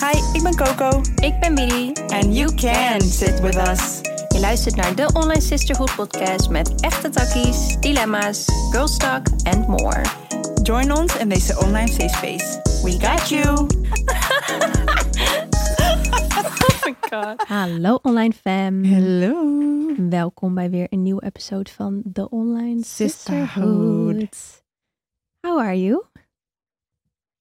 Hi, ik ben Coco. Ik ben Billy. And you can sit with us. Je luistert naar de Online Sisterhood podcast met echte takkies, dilemma's, girl talk and more. Join ons in deze online safe space. We got you. Oh my god. Hallo online fam. Hello. Welkom bij weer een nieuwe episode van de Online Sisterhood. Oh, Sisterhood. How are you?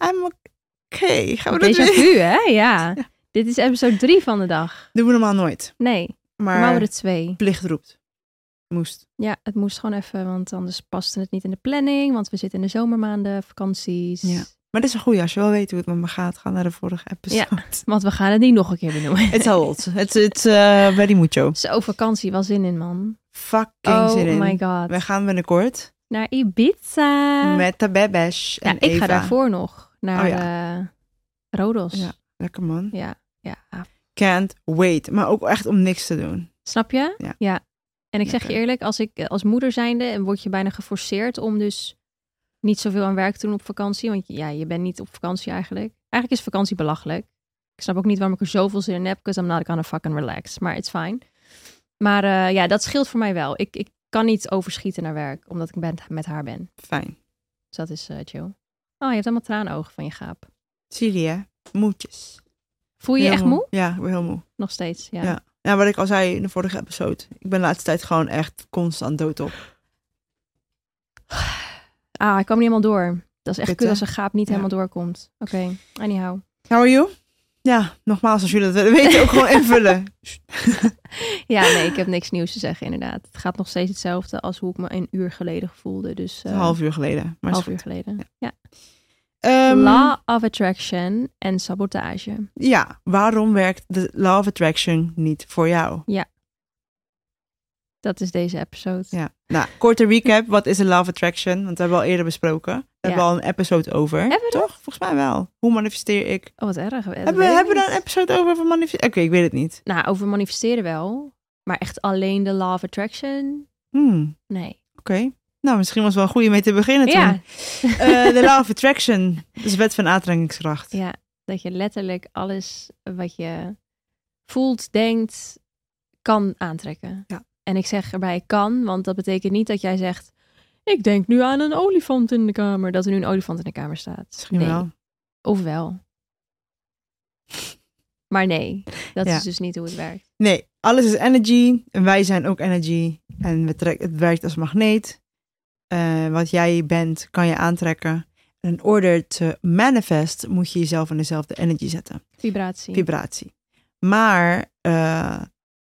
I'm okay. Gaan we dat Déjà weer? vu, hè? Ja. Dit is episode 3 van de dag. Doen we normaal nooit. Nee, maar we Maar houden er twee. plicht roept. Moest. Ja, het moest gewoon even, want anders paste het niet in de planning. Want we zitten in de zomermaanden, vakanties. Ja. Maar dit is een goeie. Als je wel weet hoe het met me gaat, ga naar de vorige episode. Want we gaan het niet nog een keer benoemen. It's old. It's, it's eh, very mucho. Zo, vakantie, wel zin in, man. Fucking oh zin in. my god. We gaan binnenkort Naar Ibiza. met de Bebes ja, en ik Eva. ga daarvoor nog naar Oh eh, Rodos. Ja. Ja. Lekker man. ja, Can't wait. Maar ook echt om niks te doen. Snap je? Ja. En ik zeg je Lekker. eerlijk, als ik eh, als moeder zijnde word je bijna geforceerd om dus niet zoveel aan werk te doen op vakantie. Want ja, je bent niet op vakantie eigenlijk. Eigenlijk is vakantie belachelijk. Ik snap ook niet waarom ik er zoveel zin in heb, because I'm not gonna fucking relax. Maar it's fine. Maar eh, ja, dat scheelt voor mij wel. Ik, ik kan niet overschieten naar werk, omdat ik ben, met haar ben. Fijn. Dus dat is eh, chill. Oh, je hebt allemaal traanogen van je gaap. Chili, hè? Moetjes. Voel je je Heel echt moe? Ja, ik ben heel moe. Nog steeds, ja. Ja. Ja, wat ik al zei in de vorige episode. Ik ben de laatste tijd gewoon echt constant doodop. Ah, ik kwam niet helemaal door. Dat is echt Kut, kut hè? als een gaap niet Ja. helemaal doorkomt. Oké, anyhow. How are you? Ja, nogmaals, als jullie dat willen weten, ook gewoon invullen. Ja, nee, ik heb niks nieuws te zeggen inderdaad. Het gaat nog steeds hetzelfde als hoe ik me een uur geleden voelde. Dus eh, Een half uur geleden. Maar half is uur goed. geleden. Ja. Ehm, Law of Attraction en sabotage. Ja, waarom werkt de Law of Attraction niet voor jou? Dat is deze episode. Ja. Nou, korte recap. Wat is de Law of Attraction? Want dat hebben we al eerder besproken. Daar hebben we al een episode over. Hebben we dat? Toch? Volgens mij wel. Hoe manifesteer ik? Oh, wat erg. Dat hebben weet we, ik hebben we niet. daar een episode over van manifesteren? Oké, ik weet het niet. Nou, over manifesteren wel. Maar echt alleen de Law of Attraction? Hmm, Nee. Oké. Nou, misschien was het wel een goede mee te beginnen toen. Ja, Eh, de Law of Attraction. Dat is wet van aantrekkingskracht. Ja, dat je letterlijk alles wat je voelt, denkt, kan aantrekken. Ja. En ik zeg erbij kan, want dat betekent niet dat jij zegt... Ik denk nu aan een olifant in de kamer. Dat er nu een olifant in de kamer staat. Misschien nee. wel. Of wel. Maar nee, dat Ja. is dus niet hoe het werkt. Nee, alles is energy. En wij zijn ook energy. En we trek- het werkt als magneet. Eh, wat jij bent, kan je aantrekken. En in order te manifest, moet je jezelf in dezelfde energy zetten. Vibratie. vibratie. Maar eh,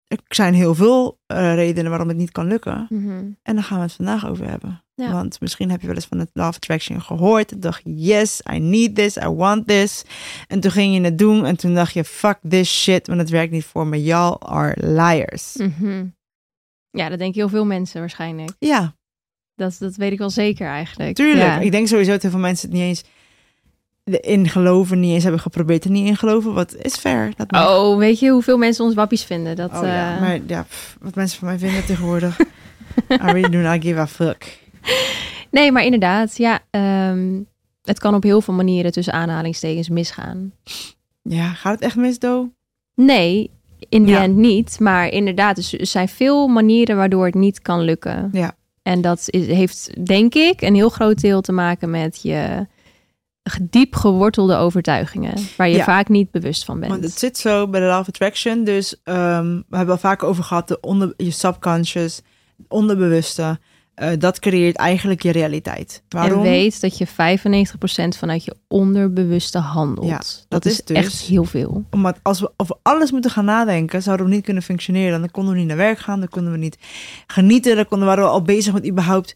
er zijn heel veel eh, redenen waarom het niet kan lukken. Mhm. En daar gaan we het vandaag over hebben. Ja. Want misschien heb je wel eens van het Law of Attraction gehoord. En dacht je, yes, I need this, I want this. En toen ging je het doen en toen dacht je, fuck this shit, want het werkt niet voor me. Y'all are liars. Mhm. Ja, dat denken heel veel mensen waarschijnlijk. Ja, Dat, dat weet ik wel zeker eigenlijk. tuurlijk. Ja. Ik denk sowieso dat heel veel mensen het niet eens in geloven, niet eens hebben geprobeerd en niet in geloven. Wat is fair? Dat mag. Oh, weet je hoeveel mensen ons wappies vinden? Dat, Oh ja, eh, maar ja, pff, wat mensen van mij vinden tegenwoordig. I really do not give a fuck. Nee, maar inderdaad, ja. ehm, het kan op heel veel manieren tussen aanhalingstekens misgaan. Ja, gaat het echt mis, Do? Nee, in die Ja. end niet. Maar inderdaad, dus er zijn veel manieren waardoor het niet kan lukken. Ja. En dat is, heeft, denk ik, een heel groot deel te maken met je diep gewortelde overtuigingen. Waar je Ja. vaak niet bewust van bent. Want het zit zo bij de Law of Attraction. Dus ehm, we hebben al vaak over gehad, de onder, je subconscious, het onderbewuste. eh, dat creëert eigenlijk je realiteit. Waarom? En weet dat je 95% vanuit je onderbewuste handelt. Ja, dat, dat is is dus- echt heel veel. Omdat als we over alles moeten gaan nadenken, zouden we niet kunnen functioneren. Dan konden we niet naar werk gaan, dan konden we niet genieten. Dan konden, waren we al bezig met überhaupt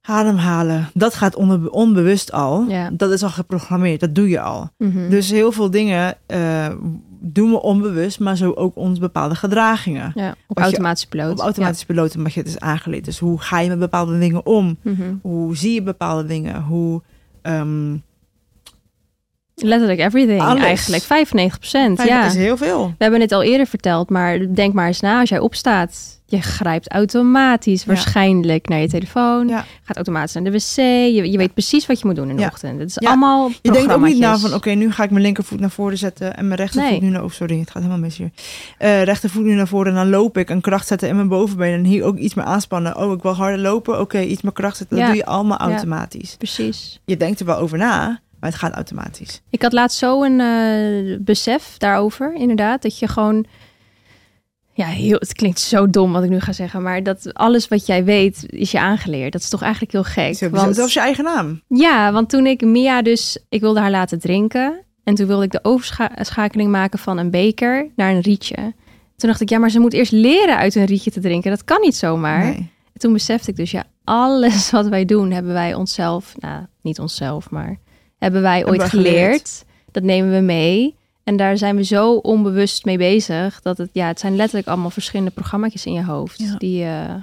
ademhalen. Dat gaat onder, onbewust al. Ja. Dat is al geprogrammeerd, dat doe je al. Mhm. Dus heel veel dingen eh, doen we onbewust, maar zo ook ons bepaalde gedragingen. ja, op je- automatische piloot. Op automatisch piloten mag je het is aangeleerd. Dus hoe ga je met bepaalde dingen om? Ja. Mhm. Hoe zie je bepaalde dingen? Hoe ehm, Letterlijk everything Alles. eigenlijk. 95 Vijf ja. is dus heel veel. We hebben het al eerder verteld, maar denk maar eens na als jij opstaat. Je grijpt automatisch waarschijnlijk naar je telefoon. Ja. Gaat automatisch naar de wc. Je, je weet precies wat je moet doen in de Ja. ochtend. Het is Ja. allemaal Je denkt ook niet na programmaatjes. van, oké, nu ga ik mijn linkervoet naar voren zetten en mijn rechtervoet Nee. nu naar... Oh, sorry, het gaat helemaal mis hier. Eh, rechtervoet nu naar voren en dan loop ik en kracht zetten in mijn bovenbeen en hier ook iets meer aanspannen. Oh, ik wil harder lopen. Oké, iets meer kracht zetten. Dat Ja. doe je allemaal Ja. automatisch. Precies. Je denkt er wel over na, maar het gaat automatisch. Ik had laatst zo een eh, besef daarover, inderdaad. Dat je gewoon... Ja, heel, het klinkt zo dom wat ik nu ga zeggen. Maar dat alles wat jij weet, is je aangeleerd. Dat is toch eigenlijk heel gek. Sowieso, Zelfs je eigen naam. Ja, want toen ik Mia dus, ik wilde haar laten drinken. En toen wilde ik de overschakeling maken van een beker naar een rietje. Toen dacht ik, ja, maar ze moet eerst leren uit een rietje te drinken. Dat kan niet zomaar. Nee. En toen besefte ik dus, ja, alles wat wij doen, hebben wij onszelf, nou, niet onszelf, maar hebben wij ooit we geleerd. geleerd. Dat nemen we mee. En daar zijn we zo onbewust mee bezig. Dat het, ja, het zijn letterlijk allemaal verschillende programma's in je hoofd. Ja. Die, eh,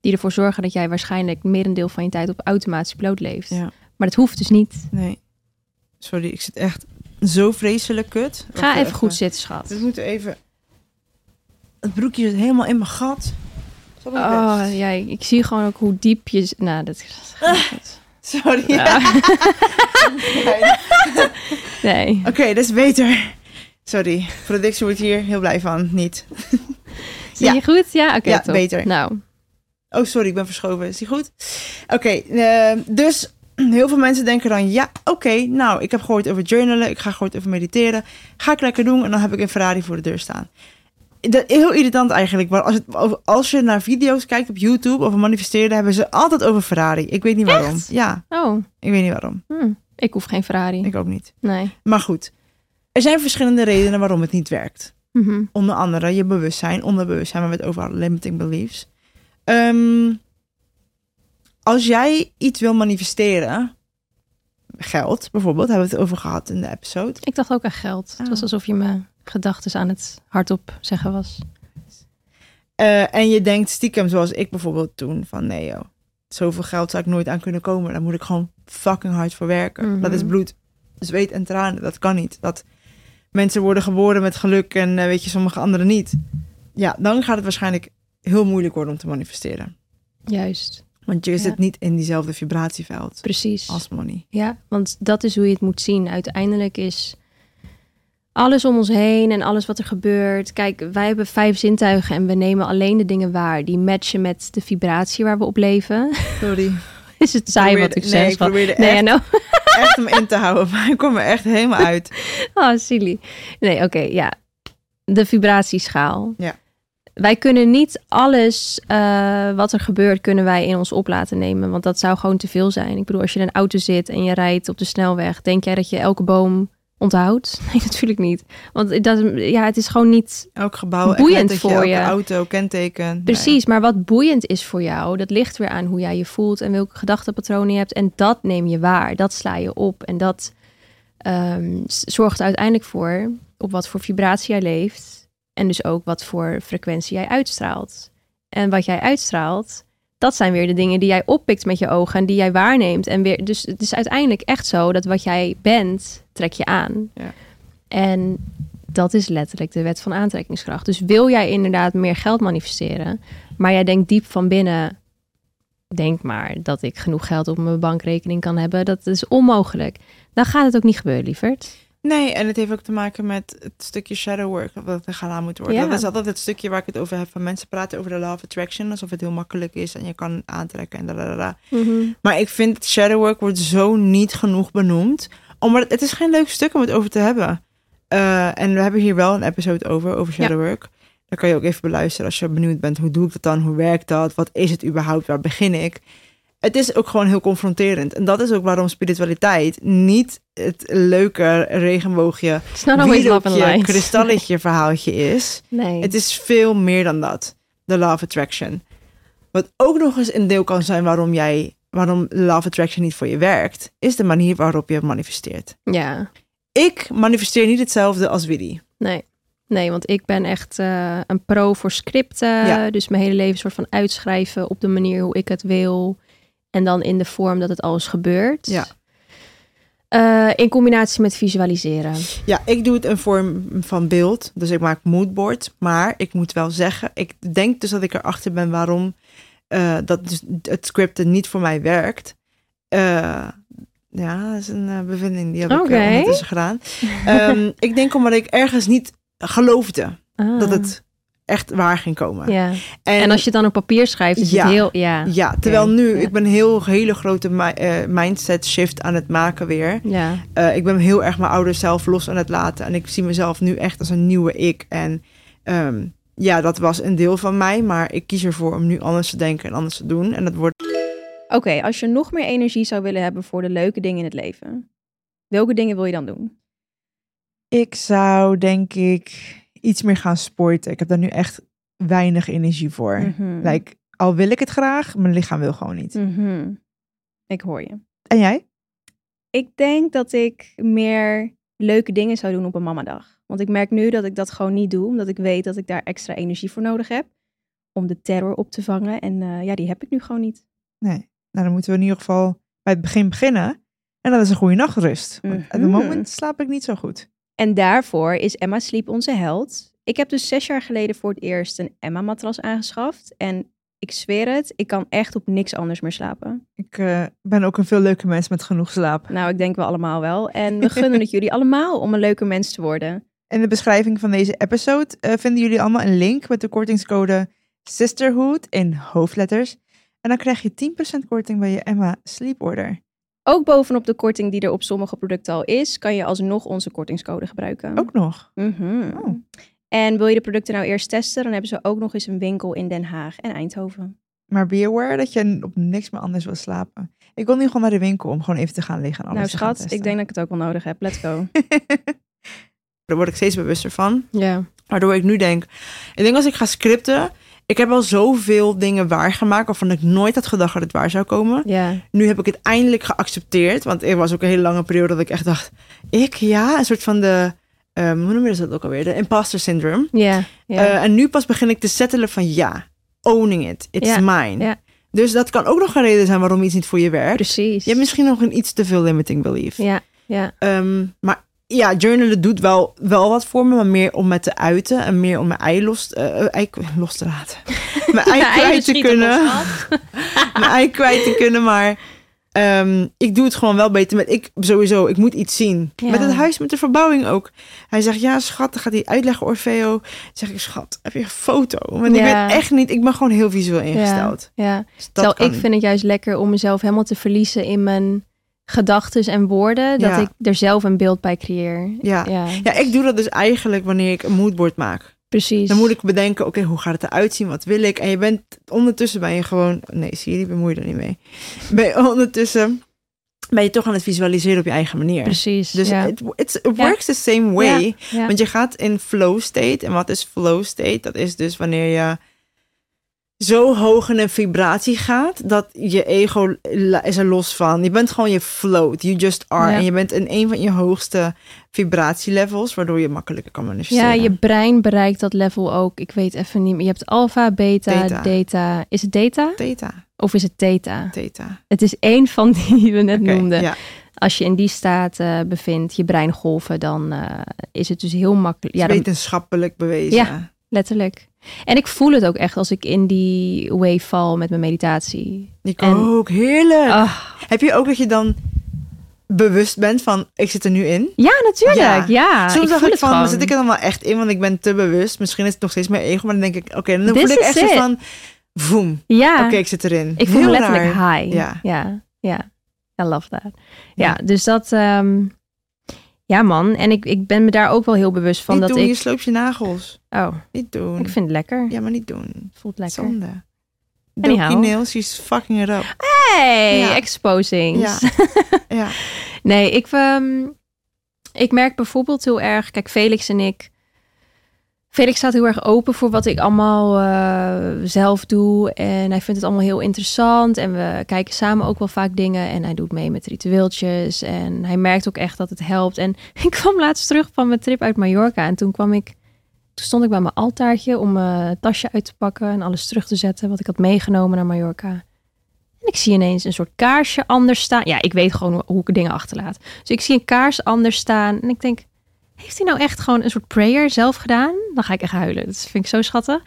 die ervoor zorgen dat jij waarschijnlijk merendeel van je tijd op automatisch piloot leeft. Ja. Maar dat hoeft dus niet. nee. Sorry, ik zit echt zo vreselijk kut. Ga Wacht even goed zitten, schat. We moeten even... Het broekje zit helemaal in mijn gat. Sorry, Oh, best. ja, ik zie gewoon ook hoe diep je... z- Nou, dat is... Sorry. Ja. Nee. Nee. Oké, dat is beter. Sorry, productie wordt hier heel blij van. Niet. Zie Ja. je goed? Ja, oké, Ja, top. beter. Nou, Oh, sorry, ik ben verschoven. Is die goed? Oké, eh, dus heel veel mensen denken dan... Ja, oké, nou, ik heb gehoord over journalen. Ik ga gehoord over mediteren. Ga ik lekker doen en dan heb ik een Ferrari voor de deur staan. Dat is heel irritant eigenlijk. Maar als, het, als je naar video's kijkt op YouTube over manifesteren... hebben ze altijd over Ferrari. Ik weet niet waarom. Echt? Ja, oh, ik weet niet waarom. hm. ik hoef geen Ferrari. Ik ook niet. Nee. Maar goed, er zijn verschillende redenen waarom het niet werkt. Mhm. onder andere je bewustzijn, onderbewustzijn, waar we het over hadden, limiting beliefs. Ehm, als jij iets wil manifesteren, geld bijvoorbeeld, hebben we het over gehad in de episode. Ik dacht ook aan geld. Het was Oh. alsof je mijn gedachten aan het hardop zeggen was. Eh, en je denkt stiekem, zoals ik bijvoorbeeld toen, van nee joh, zoveel geld zou ik nooit aan kunnen komen. Daar moet ik gewoon fucking hard voor werken. Mhm. Dat is bloed, zweet en tranen. Dat kan niet. Dat mensen worden geboren met geluk en eh, weet je, sommige anderen niet. Ja, dan gaat het waarschijnlijk heel moeilijk worden om te manifesteren. Juist, Want je Ja. zit niet in diezelfde vibratieveld precies. als money. Ja, want dat is hoe je het moet zien. Uiteindelijk is alles om ons heen en alles wat er gebeurt. Kijk, wij hebben vijf zintuigen en we nemen alleen de dingen waar die matchen met de vibratie waar we op leven. Sorry. is het saai wat ik nee, zeg? ik probeerde Nee, echt, I know. echt hem in te houden, maar ik kom er echt helemaal uit. Oh, silly. Nee, oké, ja. De vibratieschaal. Ja. Wij kunnen niet alles eh, wat er gebeurt, kunnen wij in ons op laten nemen. Want dat zou gewoon te veel zijn. Ik bedoel, als je in een auto zit en je rijdt op de snelweg, denk jij dat je elke boom onthoudt? Nee, natuurlijk niet. Want it doesn't- ja, het is gewoon niet Elk gebouw, echt Boeiend net dat voor elke je. auto, kenteken. Precies, maar wat boeiend is voor jou, dat ligt weer aan hoe jij je voelt en welke gedachtenpatronen je hebt. En dat neem je waar, dat sla je op. En dat ehm, s- zorgt er uiteindelijk voor op wat voor vibratie jij leeft. En dus ook wat voor frequentie jij uitstraalt. En wat jij uitstraalt, dat zijn weer de dingen die jij oppikt met je ogen en die jij waarneemt. En weer, dus het is uiteindelijk echt zo dat wat jij bent, trek je aan. Ja. En dat is letterlijk de wet van aantrekkingskracht. Dus wil jij inderdaad meer geld manifesteren, maar jij denkt diep van binnen, denk maar dat ik genoeg geld op mijn bankrekening kan hebben, dat is onmogelijk. Dan gaat het ook niet gebeuren, lieverd. Ja. Nee, en het heeft ook te maken met het stukje shadow work, of dat er gedaan moet worden. Ja. Dat is altijd het stukje waar ik het over heb. Van mensen praten over de law of attraction, alsof het heel makkelijk is en je kan het aantrekken en dadadada. Maar ik vind shadow work wordt zo niet genoeg benoemd. Omdat het, het is geen leuk stuk om het over te hebben. Eh, en we hebben hier wel een episode over, over Ja. shadow work. Daar kan je ook even beluisteren als je benieuwd bent. Hoe doe ik dat dan? Hoe werkt dat? Wat is het überhaupt? Waar begin ik? Het is ook gewoon heel confronterend. En dat is ook waarom spiritualiteit niet het leuke regenboogje, It's not always love and wierookje, light. kristalletje verhaaltje is. Nee. Het is veel meer dan dat. De Law of Attraction. Wat ook nog eens een deel kan zijn waarom jij, waarom Law of Attraction niet voor je werkt, is de manier waarop je manifesteert. Ja, Ik manifesteer niet hetzelfde als Willy. nee. Nee, want ik ben echt eh, een pro voor scripten. Ja. Dus mijn hele leven soort van uitschrijven op de manier hoe ik het wil. En dan in de vorm dat het alles gebeurt. Ja. Eh, in combinatie met visualiseren. Ja, ik doe het in vorm van beeld. Dus ik maak moodboard. Maar ik moet wel zeggen, ik denk dus dat ik erachter ben waarom eh, dat dus het scripten niet voor mij werkt. Eh, ja, dat is een eh, bevinding die heb ik Oké. eh, ondertussen gedaan. Ehm, ik denk omdat ik ergens niet geloofde Ah, dat het echt waar ging komen. Ja. En, als je het dan op papier schrijft, is Ja. het heel... Ja. ja, terwijl nu, ja. ik ben een heel, hele grote mi- eh, mindset shift aan het maken weer. ja. Eh, ik ben heel erg mijn oude zelf los aan het laten. En ik zie mezelf nu echt als een nieuwe ik. En ehm, ja, dat was een deel van mij. Maar ik kies ervoor om nu anders te denken en anders te doen. En dat wordt Oké, als je nog meer energie zou willen hebben voor de leuke dingen in het leven, welke dingen wil je dan doen? Ik zou denk ik iets meer gaan sporten. Ik heb daar nu echt weinig energie voor. Mhm. Like, al wil ik het graag, mijn lichaam wil gewoon niet. Mhm. Ik hoor je. En jij? Ik denk dat ik meer leuke dingen zou doen op een mamadag. Want ik merk nu dat ik dat gewoon niet doe, omdat ik weet dat ik daar extra energie voor nodig heb om de terror op te vangen. En eh, ja, die heb ik nu gewoon niet. Nee. Nou, dan moeten we in ieder geval bij het begin beginnen. En dat is een goede nachtrust. Want Op het Mhm. moment slaap ik niet zo goed. En daarvoor is Emma Sleep onze held. Ik heb dus zes jaar geleden voor het eerst een Emma-matras aangeschaft. En ik zweer het, ik kan echt op niks anders meer slapen. Ik eh, ben ook een veel leuke mens met genoeg slaap. Nou, ik denk wel allemaal wel. En we gunnen het jullie allemaal om een leuke mens te worden. In de beschrijving van deze episode eh, vinden jullie allemaal een link met de kortingscode Sisterhood in hoofdletters. En dan krijg je 10% korting bij je Emma Sleep Order. Ook bovenop de korting die er op sommige producten al is, kan je alsnog onze kortingscode gebruiken. Ook nog. Mhm. Oh. En wil je de producten nou eerst testen, dan hebben ze ook nog eens een winkel in Den Haag en Eindhoven. Maar be aware dat je op niks meer anders wil slapen. Ik wil nu gewoon naar de winkel om gewoon even te gaan liggen en nou alles te Oh, gaan schat, ik denk dat ik het ook wel nodig heb. Let's go. testen. Daar word ik steeds bewuster van. ja. Waardoor ik nu denk, ik denk als ik ga scripten, ik heb al zoveel dingen waargemaakt waarvan ik nooit had gedacht dat het waar zou komen. Ja. Nu heb ik het eindelijk geaccepteerd, want er was ook een hele lange periode dat ik echt dacht, ik ja, een soort van de, ehm, hoe noem je dat ook alweer, de imposter syndrome. Ja. Ja. Eh, en nu pas begin ik te settelen van ja, owning it, it's Ja, mine. ja. Dus dat kan ook nog een reden zijn waarom iets niet voor je werkt. Precies. Je hebt misschien nog een iets te veel limiting belief. Ja. Ja. Ehm, maar ja, journalen doet wel, wel wat voor me, maar meer om me te uiten en meer om mijn ei los, eh, eh, ei k- los te laten. Mijn ei Nou, Ja, kwijt dus te schiet op kunnen. ons af. Mijn ei kwijt te kunnen, maar ehm, ik doe het gewoon wel beter met ik sowieso. Ik moet iets zien. Ja. Met het huis, met de verbouwing ook. Hij zegt ja, schat, dan gaat hij uitleggen Orfeo. Dan zeg ik schat, heb je een foto? Want ik Ja. weet echt niet. Ik ben gewoon heel visueel ingesteld. Ja. Dus dat Terwijl kan. ik vind het juist lekker om mezelf helemaal te verliezen in mijn gedachten en woorden. Dat Ja. ik er zelf een beeld bij creëer. Ja. Ja, ja, ik doe dat dus eigenlijk wanneer ik een moodboard maak. precies. Dan moet ik bedenken, oké, hoe gaat het eruit zien? Wat wil ik? En je bent ondertussen ben je gewoon. Nee, Siri, bemoei je er niet mee. Ben je ondertussen ben je toch aan het visualiseren op je eigen manier. Precies. Dus ja. it, it's- it Ja. works the same way. Ja. Want je gaat in flow state. En wat is flow state? Dat is dus wanneer je zo hoog in een vibratie gaat dat je ego la- is er los van. Je bent gewoon je float. You just are. Ja. En je bent in een van je hoogste vibratielevels, waardoor je makkelijker kan manifesteren. ja, je brein bereikt dat level ook. Ik weet even niet meer. Je hebt alfa, beta, Theta. theta. Is het theta Theta, of is het theta? theta. Het is één van die we net Oké, noemden. Ja. Als je in die staat eh, bevindt, je breingolven, dan eh, is het dus heel makkelijk. is Ja, dan, wetenschappelijk bewezen. Ja. letterlijk. En ik voel het ook echt als ik in die wave val met mijn meditatie. Ik En- ook, heerlijk. Ah. Heb je ook dat je dan bewust bent van, ik zit er nu in? Ja, natuurlijk. Ja, Soms Ah, ik dacht voel ik het van, gewoon. zit ik er dan wel echt in? Want ik ben te bewust. Misschien is het nog steeds mijn ego, maar dan denk ik, oké, dan This voel ik is echt zo it. van, voem, Ja, oké, ik zit erin. ik voel me Heel letterlijk raar. high. Ja. ja, ja. I love that. Ja, Ja. dus dat... ehm, ja, man. En ik, ik ben me daar ook wel heel bewust van. Niet dat doen, je ik... sloopt je nagels. Oh, Niet doen. ik vind het lekker. Ja, maar niet doen. Het voelt lekker. Zonde. Anyhow. Dokie nails, she's fucking it up. Hey, Ja. exposing. Ja. Ja. Nee, ik, ehm, ik merk bijvoorbeeld heel erg. Kijk, Felix en ik. Felix staat heel erg open voor wat ik allemaal eh, zelf doe. En hij vindt het allemaal heel interessant. En we kijken samen ook wel vaak dingen. En hij doet mee met ritueeltjes. En hij merkt ook echt dat het helpt. En ik kwam laatst terug van mijn trip uit Mallorca. En toen kwam ik. Toen stond ik bij mijn altaartje om mijn tasje uit te pakken en alles terug te zetten wat ik had meegenomen naar Mallorca. En ik zie ineens een soort kaarsje anders staan. Ja, ik weet gewoon hoe, hoe ik dingen achterlaat. Dus ik zie een kaars anders staan. En ik denk, heeft hij nou echt gewoon een soort prayer zelf gedaan? Dan ga ik echt huilen. Dat vind ik zo schattig.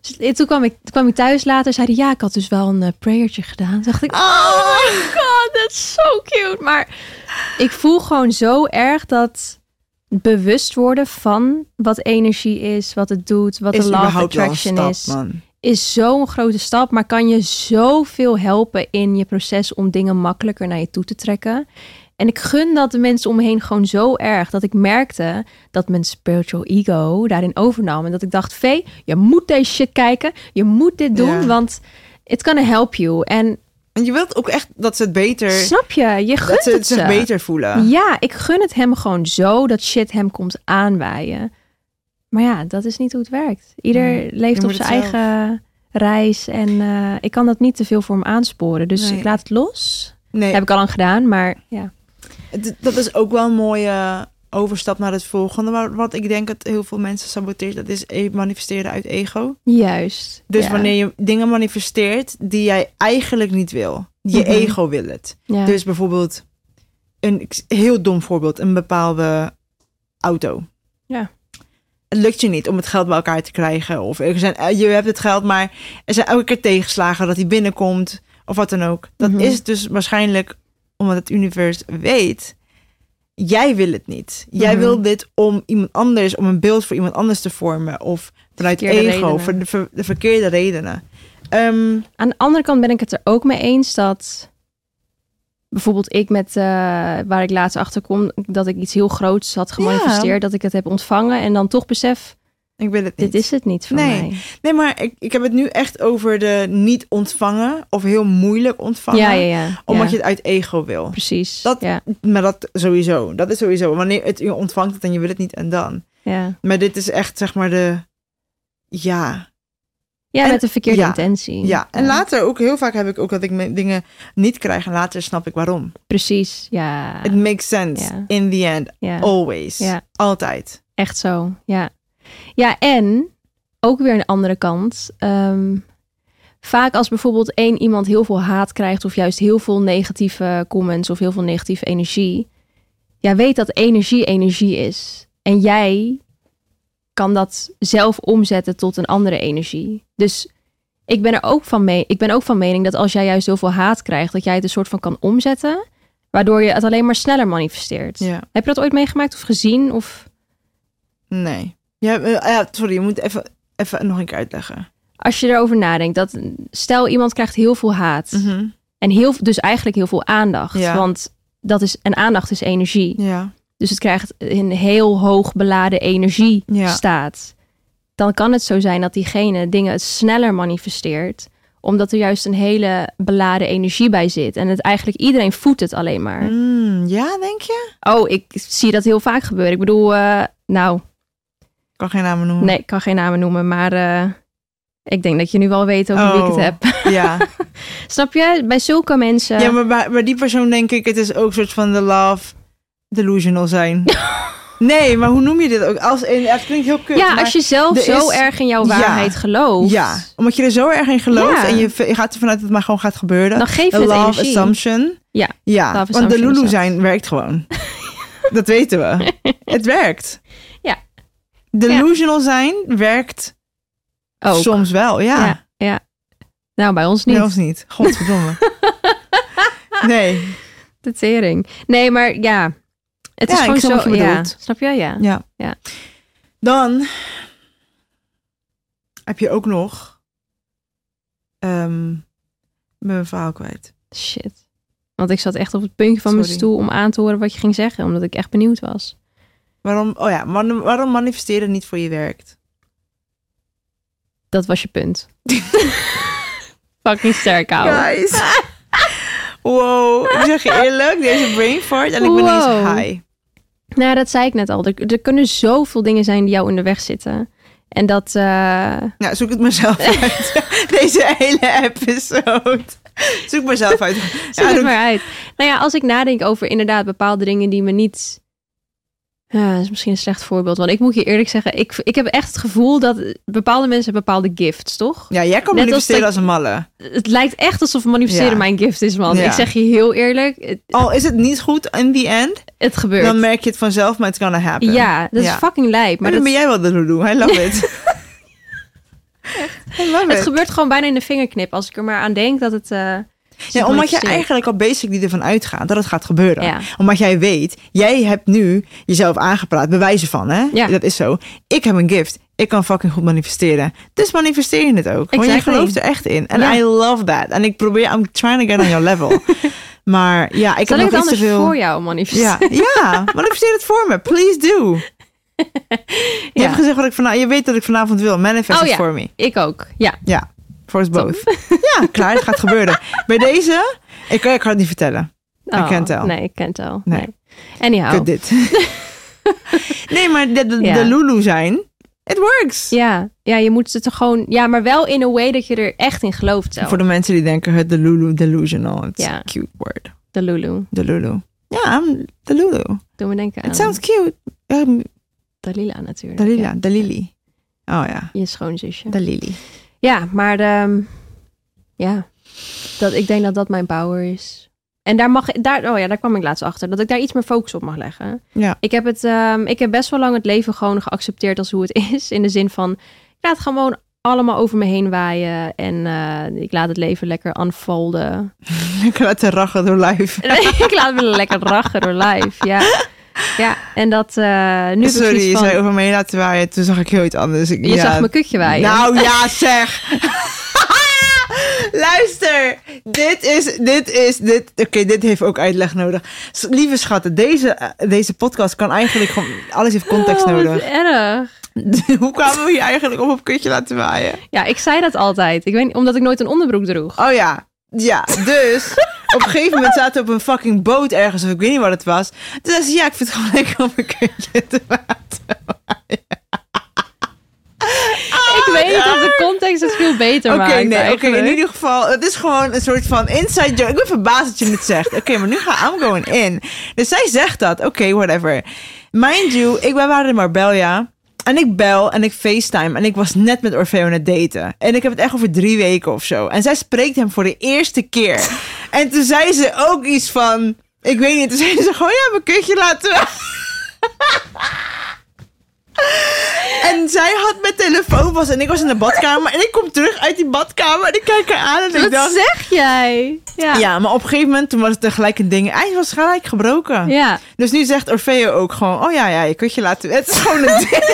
Dus eh, toen kwam ik, toen kwam ik thuis later. Zei hij, ja, ik had dus wel een eh, prayertje gedaan. Toen dacht ik, oh my god, dat is zo cute. Maar ik voel gewoon zo erg dat bewust worden van wat energie is, wat het doet, wat is de law of überhaupt wel een attraction stap, is man. is zo'n grote stap, maar kan je zoveel helpen in je proces om dingen makkelijker naar je toe te trekken. En ik gun dat de mensen om me heen gewoon zo erg dat ik merkte dat mijn spiritual ego daarin overnam. En dat ik dacht: Vee, je moet deze shit kijken. Je moet dit doen, Ja. want it's gonna help you. En En je wilt ook echt dat ze het beter, snap je, je gunt dat ze het het zich ze. beter voelen. Ja, ik gun het hem gewoon zo dat shit hem komt aanwaaien. Maar ja, dat is niet hoe het werkt. Ieder Nee, je leeft op moet zijn het zelf. eigen reis en eh, ik kan dat niet te veel voor hem aansporen. Dus Nee. ik laat het los. Nee, Dat heb ik al lang gedaan, maar ja. d- dat is ook wel een mooie overstap naar het volgende. Maar wat ik denk dat heel veel mensen saboteert, dat is e- manifesteren uit ego. Juist. Dus ja. wanneer je dingen manifesteert die jij eigenlijk niet wil. Je Mhm. ego wil het. Ja. Dus bijvoorbeeld, een ik s- heel dom voorbeeld, een bepaalde auto. Ja. Het lukt je niet om het geld bij elkaar te krijgen. Of er zijn, eh, je hebt het geld, maar er zijn elke keer tegenslagen dat hij binnenkomt. Of wat dan ook. Dat Mhm. is dus waarschijnlijk omdat het universum weet. Jij wil het niet. Jij Mhm. wil dit om iemand anders, om een beeld voor iemand anders te vormen. Of vanuit verkeerde ego, redenen. voor de, ver- de verkeerde redenen. Ehm, Aan de andere kant ben ik het er ook mee eens dat bijvoorbeeld ik met eh, waar ik laatst achter kom dat ik iets heel groots had gemanifesteerd, dat ik het heb ontvangen en dan toch besef ik wil het niet. dit is het niet voor Nee. mij. Nee, maar ik, ik heb het nu echt over de niet ontvangen of heel moeilijk ontvangen. Ja, ja, ja. Omdat Ja. je het uit ego wil. Precies. Dat- ja, Maar dat sowieso. Dat is sowieso. Wanneer het, je ontvangt het en je wil het niet en dan. ja. Maar dit is echt zeg maar de... Ja, ja En- met de verkeerde ja, intentie. ja. En later ook, heel vaak heb ik ook dat ik mijn dingen niet krijg. En later snap ik waarom. Precies. Ja. It makes sense. Ja. In the end. ja. Always. Ja. Altijd. Echt zo. Ja. Ja, en ook weer aan de andere kant. ehm, vaak als bijvoorbeeld één iemand heel veel haat krijgt, of juist heel veel negatieve comments of heel veel negatieve energie. Ja, weet dat energie energie is. En jij kan dat zelf omzetten tot een andere energie. Dus ik ben er ook van, mee, ik ben ook van mening dat als jij juist heel veel haat krijgt, dat jij het een soort van kan omzetten, waardoor je het alleen maar sneller manifesteert. Ja. Heb je dat ooit meegemaakt of gezien? Of Nee. Ja, eh, ja, sorry, je moet even, even nog een keer uitleggen. als je erover nadenkt, dat stel iemand krijgt heel veel haat Mhm. en heel, dus eigenlijk heel veel aandacht, Ja. want dat is en aandacht is energie, Ja. dus het krijgt een heel hoog beladen energie Ja. staat. Dan kan het zo zijn dat diegene dingen sneller manifesteert, omdat er juist een hele beladen energie bij zit en het eigenlijk iedereen voedt het alleen maar. Mm, ja, denk je? Oh, ik zie dat heel vaak gebeuren. Ik bedoel, eh, nou, Ik kan geen namen noemen. nee, ik kan geen namen noemen, maar eh, ik denk dat je nu wel weet over wie ik Oh. het heb. Ja. Snap je? Bij zulke mensen. Ja, maar bij, bij die persoon denk ik, het is ook een soort van de love delusional zijn. nee, maar hoe noem je dit ook? Als, en het klinkt heel kut. Ja, maar, als je zelf er zo is- erg in jouw Ja. waarheid gelooft, ja, omdat je er zo erg in gelooft Ja. en je, v- je gaat ervan uit dat het maar gewoon gaat gebeuren. dan geef je De het love energie. assumption. Ja, ja love want assumption de lulu is dat. zijn werkt gewoon. dat weten we. het werkt. Ja. Delusional zijn werkt Ook. soms wel, ja. Ja, ja. Oh, Nou, bij ons niet. Nee, of niet. Godverdomme. nee, De tering. Nee, maar ja. Het Ja, is gewoon ik snap zo. wat je ja. bedoelt. Snap je? Ja. ja. Ja. Dan heb je ook nog. ehm, ik ben mijn verhaal kwijt. Shit. Want ik zat echt op het puntje van mijn Sorry. stoel om aan te horen wat je ging zeggen, omdat ik echt benieuwd was. Waarom, oh ja, man- waarom manifesteren niet voor je werkt? Dat was je punt. Fucking sterk, ouwe. Guys. wow, ik zeg je eerlijk, deze brain fart en ik ben ineens Wow. high. Nou, dat zei ik net al. Er, er kunnen zoveel dingen zijn die jou in de weg zitten. En dat. eh, Nou, zoek het mezelf uit. deze hele episode. Zoek mezelf uit. Zoek Ja, het doe- maar uit. Nou ja, als ik nadenk over inderdaad bepaalde dingen die me niet Ja, dat is misschien een slecht voorbeeld. Want ik moet je eerlijk zeggen, ik, ik heb echt het gevoel dat eh, bepaalde mensen hebben bepaalde gifts, toch? Ja, jij kan Net als manifesteren dat- als, een malle. Het lijkt echt alsof manifesteren Ja. mijn gift is, man. Ja. Ik zeg je heel eerlijk, het, Al is het niet goed in the end, het gebeurt. dan merk je het vanzelf, maar het kan happen. ja, dat Ja. is fucking lijp. Maar Maar dan dat, ben jij wel de roedoe. I love it. I love het it. gebeurt gewoon bijna in de vingerknip als ik er maar aan denk dat het. eh, Ja, omdat je manifesteert. eigenlijk al basically ervan uitgaat dat het gaat gebeuren. Ja. Omdat jij weet, jij hebt nu jezelf aangepraat, bewijzen van, hè? Ja. Dat is zo. Ik heb een gift. Ik kan fucking goed manifesteren. Dus manifesteer je het ook. Want je Exactly. gelooft er echt in. En Ja. I love that. En ik probeer, I'm trying to get on your level. maar ja, ik Zal ik heb het nog iets te anders veel. voor jou manifesteren? Ja, ja, manifesteer het voor me. Please do. Je Ja. hebt gezegd wat ik vanavond, je weet dat ik vanavond wil. Manifest Oh het ja. voor me. Ik ook. Ja, Ja, voor ons Top. both. Ja, klaar, het gaat gebeuren. Bij deze, ik, kan- ik kan het niet vertellen. I can't tell. Oh, Nee, ik kent al. Nee. Nee. Anyhow. Kut dit. nee, maar de, de, Ja. de Lulu zijn, it works. Ja, ja, je moet het er gewoon. Ja, maar wel in een way dat je er echt in gelooft zelf. Voor de mensen die denken, het de Lulu delusional. It's Ja. a cute word. de Lulu. De Lulu. Ja, I'm de Lulu. Doe me denken aan It sounds cute. Um, Dalila natuurlijk. Dalila, Ja, Dalili. Oh ja, Je schoonzusje. Dalili. Ja, maar ehm, ja, dat, ik denk dat dat mijn power is. En daar mag daar, oh ja, daar kwam ik laatst achter. Dat ik daar iets meer focus op mag leggen. Ja. Ik heb het, ehm, ik heb best wel lang het leven gewoon geaccepteerd als hoe het is. In de zin van, ik laat het gewoon allemaal over me heen waaien. En eh, ik laat het leven lekker unfolden. Lekker laten rachen door live. ik laat me lekker rachen door live. Ja. ja. En dat eh, nu heb ik Sorry, zoiets je van, zei over me heen laten waaien. Toen zag ik heel iets anders. Ik, je ja. zag mijn kutje waaien. Oh, Nou ja, zeg. Luister, dit is, dit is, dit, oké, dit heeft ook uitleg nodig. S- Lieve schatten, deze, eh, deze podcast kan eigenlijk gewoon, alles heeft context Oh, wat nodig. erg. Hoe kwamen we hier eigenlijk op op kutje laten waaien? Ja, ik zei dat altijd. Ik weet niet, omdat ik nooit een onderbroek droeg. Oh ja, ja, dus op een gegeven moment zaten we op een fucking boot ergens, of ik weet niet wat het was. Toen zei ze, ja, ik vind het gewoon lekker om een kutje te laten ik weet dat de context het veel beter Oh, Oké, maakt. nee, oké. eigenlijk. in ieder geval, het is gewoon een soort van inside joke. Ik ben verbaasd dat je het zegt. Oké, maar nu ga I'm going in. Dus zij zegt dat. Oké, whatever. Mind you, ik, wij waren in Marbella. En ik bel en ik facetime. En ik was net met Orfeo aan het daten. En ik heb het echt over drie weken of zo. En zij spreekt hem voor de eerste keer. En toen zei ze ook iets van... Ik weet niet, toen zei ze gewoon... Ja, mijn kutje laten we... En zij had mijn telefoon vast en ik was in de badkamer. En ik kom terug uit die badkamer en ik kijk haar aan en ik Wat dacht... zeg jij? Ja. Ja, maar op een gegeven moment toen was het tegelijk een ding. Hij was gelijk gebroken. Ja. Dus nu zegt Orfeo ook gewoon... Oh ja, ja, je kunt je laten... Het is gewoon een ding.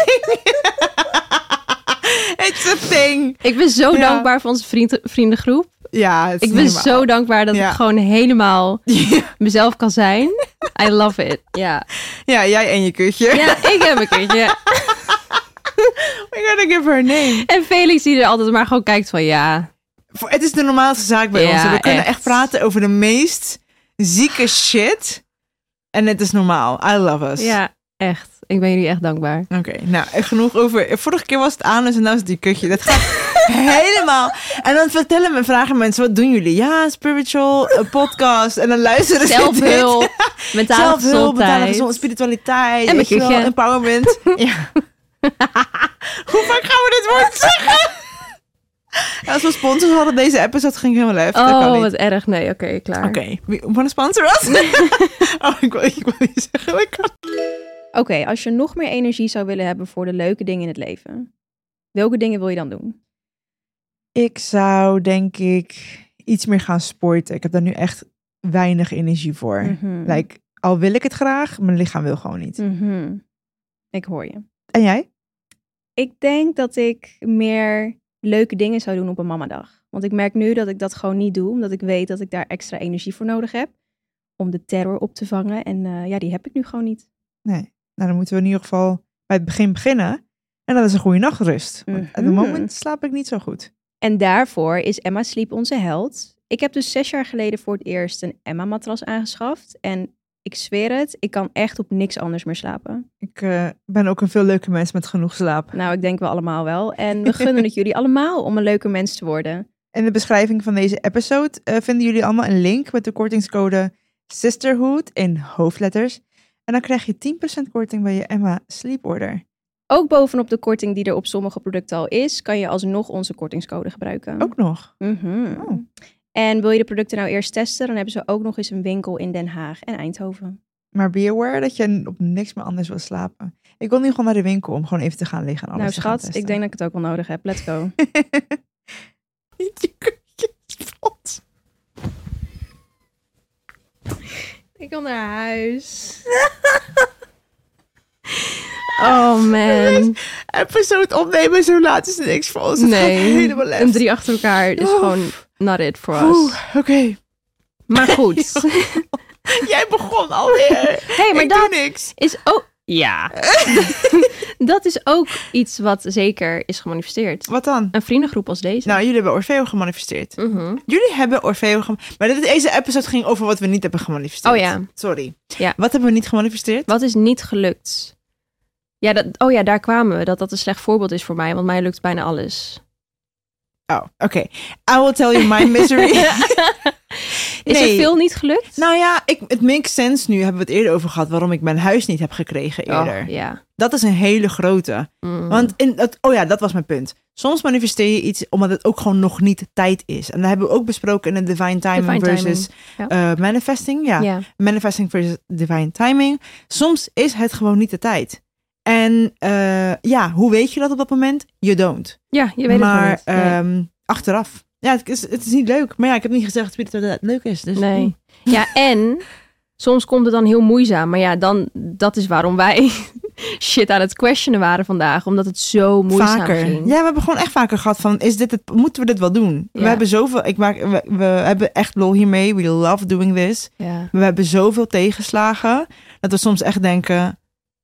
It's a thing. Ik ben zo Ja. dankbaar voor onze vriend, vriendengroep. Ja, het is Ik ben niet normaal. zo dankbaar dat Ja. ik gewoon helemaal Ja, mezelf kan zijn. I love it. Ja, Ja, jij en je kutje. ja ik heb een keertje. We gotta give her a name. En Felix die er altijd maar gewoon kijkt van ja. Voor- Het is de normaalste zaak bij Ja, ons. We kunnen echt. echt. praten over de meest zieke shit. En het is normaal. I love us. Ja, echt. Ik ben jullie echt dankbaar. Oké, nou genoeg over. Vorige keer was het anus en nu is het die kutje. Dat gaat helemaal. En dan vertellen me, vragen mensen, wat doen jullie? Ja, spiritual eh, podcast. En dan luisteren ze dit. Zelfhulp, mentale Zelfhulp, betalen gezondheid. gezond, spiritualiteit. En weet je wel, kutje. Empowerment. ja. Hoe vaak gaan we dit woord zeggen? En als we sponsors hadden deze episode, ging ik helemaal lef. dat kan Oh, niet. wat erg. Nee, oké, klaar. Oké, wie- wanna sponsor us? oh, ik wil, ik wil niet zeggen, dat kan. Oké, als je nog meer energie zou willen hebben voor de leuke dingen in het leven, welke dingen wil je dan doen? Ik zou denk ik iets meer gaan sporten. Ik heb daar nu echt weinig energie voor. Mhm. Like, al wil ik het graag, mijn lichaam wil gewoon niet. Mhm. Ik hoor je. En jij? Ik denk dat ik meer leuke dingen zou doen op een mamadag. Want ik merk nu dat ik dat gewoon niet doe, omdat ik weet dat ik daar extra energie voor nodig heb. Om de terror op te vangen. En eh, ja, die heb ik nu gewoon niet. Nee. Nou, dan moeten we in ieder geval bij het begin beginnen. En dat is een goede nachtrust. Want op het Mhm. moment slaap ik niet zo goed. En daarvoor is Emma Sleep onze held. Ik heb dus zes jaar geleden voor het eerst een Emma-matras aangeschaft. En ik zweer het, ik kan echt op niks anders meer slapen. Ik eh, ben ook een veel leuke mens met genoeg slaap. Nou, ik denk wel allemaal wel. En we gunnen het jullie allemaal om een leuker mens te worden. In de beschrijving van deze episode eh, vinden jullie allemaal een link met de kortingscode Sisterhood in hoofdletters. En dan krijg je 10% korting bij je Emma Sleep Order. Ook bovenop de korting die er op sommige producten al is, kan je alsnog onze kortingscode gebruiken. Ook nog. Mhm. Oh. En wil je de producten nou eerst testen, dan hebben ze ook nog eens een winkel in Den Haag en Oh, Eindhoven. Maar be aware dat je op niks meer anders wil slapen. Ik wil nu gewoon naar de winkel om gewoon even te gaan liggen en alles nou te gaan schat, ik denk dat ik het ook wel nodig heb. Let's go. testen. Niet je kutjes pot. Ik wil naar huis. oh man. Episode opnemen zo laat is niks voor ons. Het Nee. gaat helemaal left. Een drie achter elkaar is Oef. gewoon not it for us. Oeh, Oké, Maar goed. jij begon alweer. hey, maar ik dat doe niks. is ook... Ja. dat is ook iets wat zeker is gemanifesteerd. Wat dan? Een vriendengroep als deze. Nou, jullie hebben Orfeo gemanifesteerd. Mhm. Jullie hebben Orfeo gemanifesteerd. Maar dit- deze episode ging over wat we niet hebben gemanifesteerd. Oh ja. Sorry. Ja. Wat hebben we niet gemanifesteerd? Wat is niet gelukt? Ja, dat, oh ja, daar kwamen we. Dat dat een slecht voorbeeld is voor mij, want mij lukt bijna alles. Oh, oké. I will tell you my misery. Is Nee. er veel niet gelukt? nou ja, ik, het makes sense nu. Hebben we het eerder over gehad waarom ik mijn huis niet heb gekregen Oh, eerder. ja. Dat is een hele grote. Mm. Want in dat, oh ja, dat was mijn punt. Soms manifesteer je iets omdat het ook gewoon nog niet tijd is. En dat hebben we ook besproken in de Divine Timing Divine versus timing, eh, Manifesting. Ja. ja. manifesting versus divine timing. Soms is het gewoon niet de tijd. En eh, ja, hoe weet je dat op dat moment? You don't. Ja, je weet maar het nooit. Nee. ehm, achteraf. Ja, het is, het is niet leuk. Maar ja, ik heb niet gezegd dat het inderdaad leuk is. Dus Nee. mm. Ja, en soms komt het dan heel moeizaam. Maar ja, dan, dat is waarom wij shit aan het questionen waren vandaag. Omdat het zo moeizaam vaker. ging. Ja, we hebben gewoon echt vaker gehad van, is dit het, moeten we dit wel doen? Ja. We hebben zoveel, ik maak, we, we hebben echt lol hiermee. We love doing this. Ja. We hebben zoveel tegenslagen, dat we soms echt denken,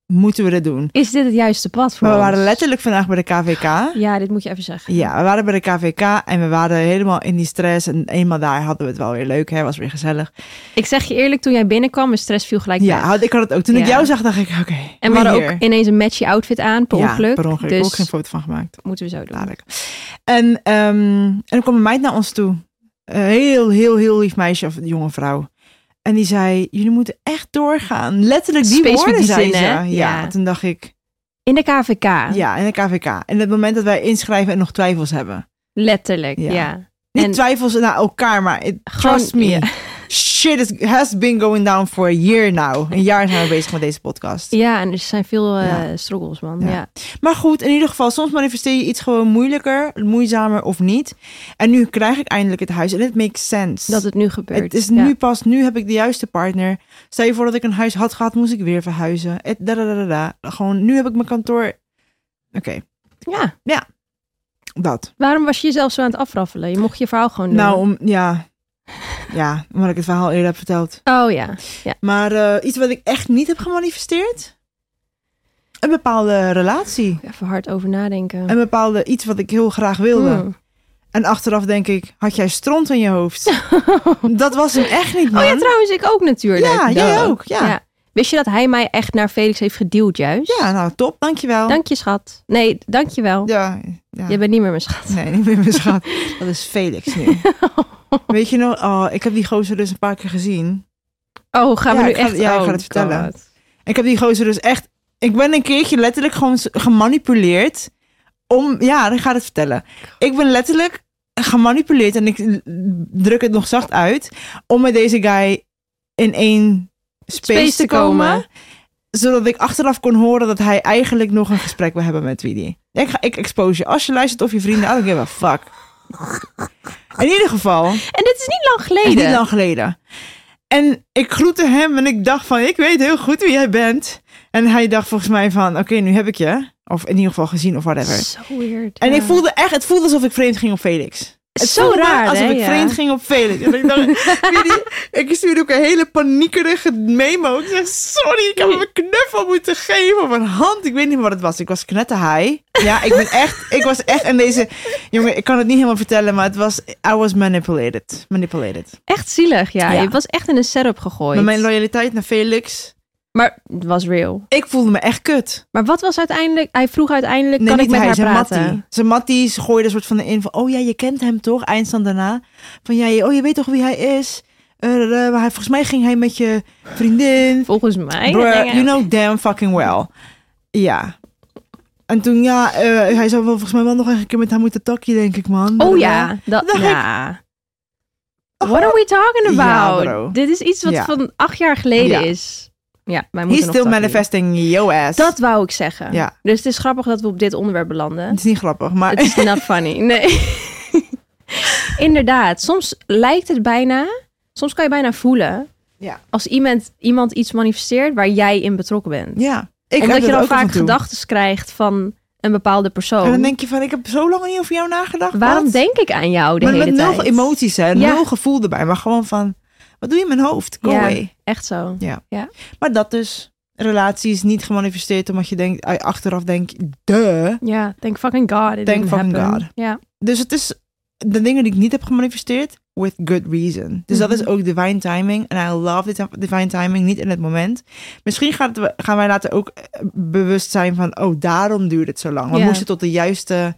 moeten we dit doen? Is dit het juiste pad voor Maar we ons? waren letterlijk vandaag bij de KVK. Ja, dit moet je even zeggen. Ja, we waren bij de KVK en we waren helemaal in die stress. En eenmaal daar hadden we het wel weer leuk, hè? Was weer gezellig. Ik zeg je eerlijk, toen jij binnenkwam, mijn stress viel gelijk ja, weg. had, ik had het ook. Toen ik Ja. jou zag, dacht ik, oké. En we maar hadden ook ineens een matchy outfit aan, per ongeluk. per ongeluk. Dus ook geen foto van gemaakt. moeten we zo doen. Dadelijk. En, ehm, en er kwam een meid naar ons toe. Een heel, heel, heel lief meisje of een jonge vrouw. En die zei, jullie moeten echt doorgaan. Letterlijk die Space woorden with zei design, ze. hè? Ja, Ja. toen dacht ik, In de KVK. ja, in de KVK. En het moment dat wij inschrijven en nog twijfels hebben. Letterlijk, ja. Ja. Niet En- twijfels naar elkaar, maar it- Gewoon- trust me. Ja. Shit is, has been going down for a year now. Een jaar zijn we bezig met deze podcast. Ja, en er zijn veel eh, struggles, man. Ja. Ja. Maar goed, in ieder geval, soms manifesteer je iets gewoon moeilijker, moeizamer of niet. En nu krijg ik eindelijk het huis en it makes sense. Dat het nu gebeurt. het is Ja. nu pas, nu heb ik de juiste partner. Stel je voor dat ik een huis had gehad, moest ik weer verhuizen. Et, da, da, da, da, da. Gewoon, nu heb ik mijn kantoor. Oké, Ja. dat. Waarom was je jezelf zo aan het afraffelen? Je mocht je verhaal gewoon doen. Nou, om, ja. Ja, omdat ik het verhaal eerder heb verteld. Oh ja. Maar eh, iets wat ik echt niet heb gemanifesteerd? Een bepaalde relatie. Even hard over nadenken. Een bepaalde iets wat ik heel graag wilde. Hmm. En achteraf denk ik, had jij stront in je hoofd? dat was hem echt niet, man. Oh ja, trouwens, ik ook natuurlijk. Ja, jij Duh. ook, ja. Ja. Wist je dat hij mij echt naar Felix heeft geduwd juist? Ja, nou, top, dankjewel. Dank je, schat. Nee, dank je wel. Ja, ja. Je bent niet meer mijn schat. Nee, niet meer mijn schat. Dat is Felix nu. Weet je nog, oh, ik heb die gozer dus een paar keer gezien. Oh, gaan we Ja, nu ik ga- echt... ja, ik oh, ga het vertellen. God. Ik heb die gozer dus echt... Ik ben een keertje letterlijk gewoon s- gemanipuleerd om... Ja, ik ga het vertellen. Ik ben letterlijk gemanipuleerd en ik l- druk het nog zacht uit... om met deze guy in één space, Space te komen. zodat ik achteraf kon horen dat hij eigenlijk nog een gesprek wil hebben met Widi. Ik, ga, ik expose je. Als je luistert of je vrienden, I don't give a fuck. In ieder geval, En dit is niet lang echt geleden. niet lang geleden. En ik groette hem en ik dacht van, ik weet heel goed wie jij bent. En hij dacht volgens mij van, oké, nu heb ik je. Of in ieder geval gezien of whatever. Zo weird. En ja. ik voelde echt, het voelde alsof ik vreemd ging op Felix. Het Zo voelde raar, alsof hè, ik ja. vreemd ging op Felix. En ik dacht, Willy, ik stuurde ook een hele paniekerige memo. Ik zeg, sorry, ik heb hem een knuffel moeten geven op een hand. Ik weet niet meer wat het was. Ik was knetterhaai. Ja, ik ben echt, ik was echt en deze... Jongen, ik kan het niet helemaal vertellen, maar het was... I was manipulated. Manipulated. Echt zielig, ja. Ja. Je was echt in een setup gegooid. Maar mijn loyaliteit naar Felix... Maar het was real. Ik voelde me echt kut. Maar wat was uiteindelijk... Hij vroeg uiteindelijk, kan ik met haar zijn praten? Mattie. Zijn Mattie gooide een soort van in van... Oh ja, je kent hem toch? Eindstand daarna. Van ja, je- oh je weet toch wie hij is? eh, eh, hij- volgens mij ging hij met je vriendin. Volgens mij. Bruh, you Dingen- know damn fucking well. Ja. En toen, ja, eh, hij zou wel volgens mij wel nog een keer met haar moeten takje, denk ik, man. Oh ja, dat, Dacht ik- ja. What are we talking Oh, Ja, about? bro. Dit is iets wat Ja. van acht jaar geleden Ja. is. Ja, wij He's moeten nog still takken. manifesting yo ass. Dat wou ik zeggen. Ja. Dus het is grappig dat we op dit onderwerp belanden. Het is niet grappig, maar Het is not funny. Nee. Inderdaad, soms lijkt het bijna, soms kan je bijna voelen Ja. als iemand, iemand iets manifesteert waar jij in betrokken bent. ja. Ik heb Omdat je dat dan ook af en vaak toe. gedachten krijgt van een bepaalde persoon. En dan denk je van, ik heb zo lang niet over jou nagedacht. Waarom wat? denk ik aan jou de Maar hele met nul tijd? emoties, hè. Ja. Nul gevoel erbij. Maar gewoon van, wat doe je in mijn hoofd? Go Ja. away. Echt zo. Maar dat dus. Relaties niet gemanifesteerd omdat je denkt, ah, achteraf denk je, duh. Ja, thank fucking God. it Thank didn't fucking happen. God. Ja, Dus het is de dingen die ik niet heb gemanifesteerd, with good reason. Dus dat is Mhm. ook divine timing. En I love dit- divine timing, niet in het moment. Misschien gaat het, gaan wij later ook eh, bewust zijn van, oh, daarom duurt het zo lang. We Ja. moesten tot de juiste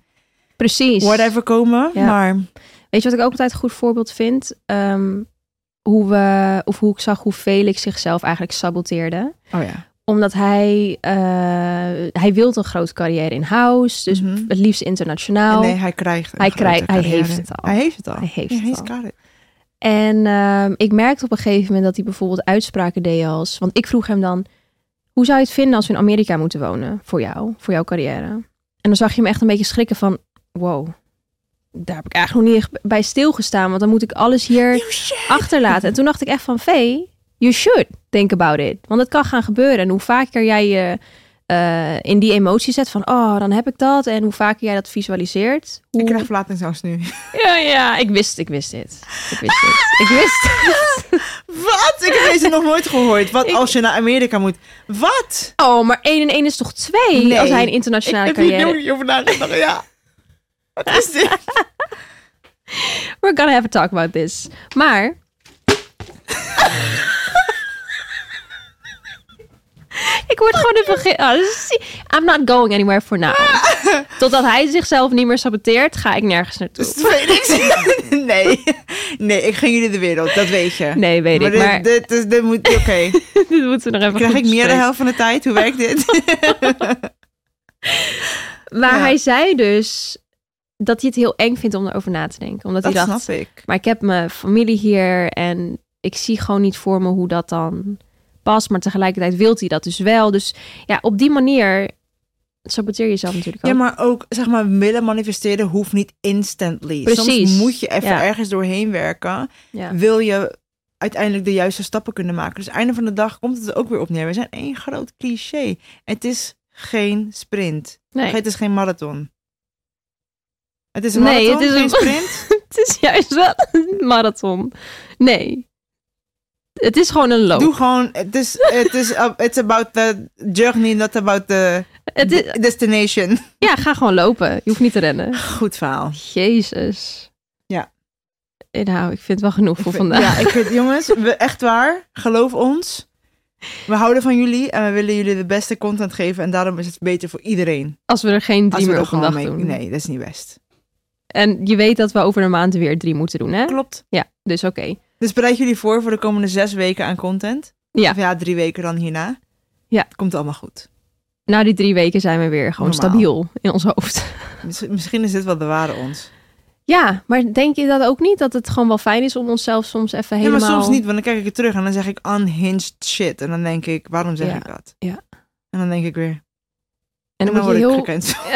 precies. whatever komen. Ja. Maar Weet je wat ik ook altijd een goed voorbeeld vind? Ehm, hoe we, of hoe ik zag hoe Felix zichzelf eigenlijk saboteerde. Oh ja. Omdat hij, eh hij wilde een grote carrière in house. Dus Mhm. het liefst internationaal. nee, hij krijgt. een Hij grote krijgt- hij carrière. heeft het al. Hij heeft het al. Hij heeft Ja, het he's al. got it. En ehm, ik merkte op een gegeven moment dat hij bijvoorbeeld uitspraken deed als... Want ik vroeg hem dan, hoe zou je het vinden als we in Amerika moeten wonen? Voor jou, voor jouw carrière. En dan zag je hem echt een beetje schrikken van, wow... Daar heb ik eigenlijk nog niet echt bij stilgestaan. Want dan moet ik alles hier You Oh, shit. achterlaten. En toen dacht ik echt van, Vee, you should think about it. Want het kan gaan gebeuren. En hoe vaker jij je eh, in die emotie zet van, oh, dan heb ik dat. En hoe vaker jij dat visualiseert. Hoe... Ik krijg verlatingsangst nu. Ja, ja, ik wist, ik wist dit. Ik wist dit. Ik wist Wat? Ik heb deze nog nooit gehoord. Wat Ik- als je naar Amerika moet? Wat? Oh, maar 1 en 1 is toch 2? Nee. Als hij een Ik internationale heb hier carrière... nog niet over nagedacht. Ja. Wat is dit? We're gonna have a talk about this. Maar... ik word gewoon in begin... Oh, zie- I'm not going anywhere for now. Totdat hij zichzelf niet meer saboteert, ga ik nergens Dus naartoe. het weet ik. Nee. Nee, ik ging jullie de wereld. Dat weet je. Nee, weet maar ik. dit, Maar dit, Dit, is- dit moet... Oké. moeten we nog Krijg even goed ik meer de bespreken. helft van de tijd? Hoe werkt dit? Maar Ja. hij zei dus dat hij het heel eng vindt om erover na te denken. Omdat Dat hij dacht, snap ik. Maar ik heb mijn familie hier en ik zie gewoon niet voor me hoe dat dan past. Maar tegelijkertijd wilt hij dat dus wel. Dus ja, op die manier saboteer je jezelf natuurlijk ook. Ja, maar ook zeg maar willen manifesteren hoeft niet instantly. Precies. Soms moet je even Ja. ergens doorheen werken. Ja. Wil je uiteindelijk de juiste stappen kunnen maken. Dus einde van de dag komt het er ook weer op neer. We zijn één groot cliché. Het is geen sprint. Nee, Het is geen marathon. Het is een Nee, marathon, het is geen een- sprint. het is juist wel een marathon. Nee. Het is gewoon een loop. Doe gewoon, het is, het is it's about the journey, not about the Het is, destination. ja, ga gewoon lopen. Je hoeft niet te rennen. Goed verhaal. Jezus. Ja. Eh, Nou, ik vind het wel genoeg Ik voor vind- vandaag. Ja, ik vind, jongens, we, echt waar. Geloof ons. We houden van jullie en we willen jullie de beste content geven. En daarom is het beter voor iedereen. Als we er geen Als drie we meer er op een gewoon dag mee... doen. Nee, dat is niet best. En je weet dat we over een maand weer drie moeten doen, hè? Klopt. Ja, dus oké. Dus bereid jullie voor voor de komende zes weken aan content. Ja. Of ja, drie weken dan hierna. Ja. Komt allemaal goed. na die drie weken zijn we weer gewoon Normaal. stabiel in ons hoofd. Miss- Misschien is dit wel de ware ons. Ja, maar denk je dat ook niet? Dat het gewoon wel fijn is om onszelf soms even helemaal... Ja, maar soms niet, want dan kijk ik er terug en dan zeg ik unhinged shit. En dan denk ik, waarom zeg Ja, ik dat? ja. En dan denk ik weer, En dan moet word je ik heel... gecanceld.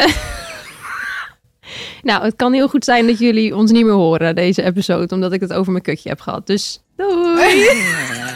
Nou, het kan heel goed zijn dat jullie ons niet meer horen, deze episode. Omdat ik het over mijn kutje heb gehad. Dus doei!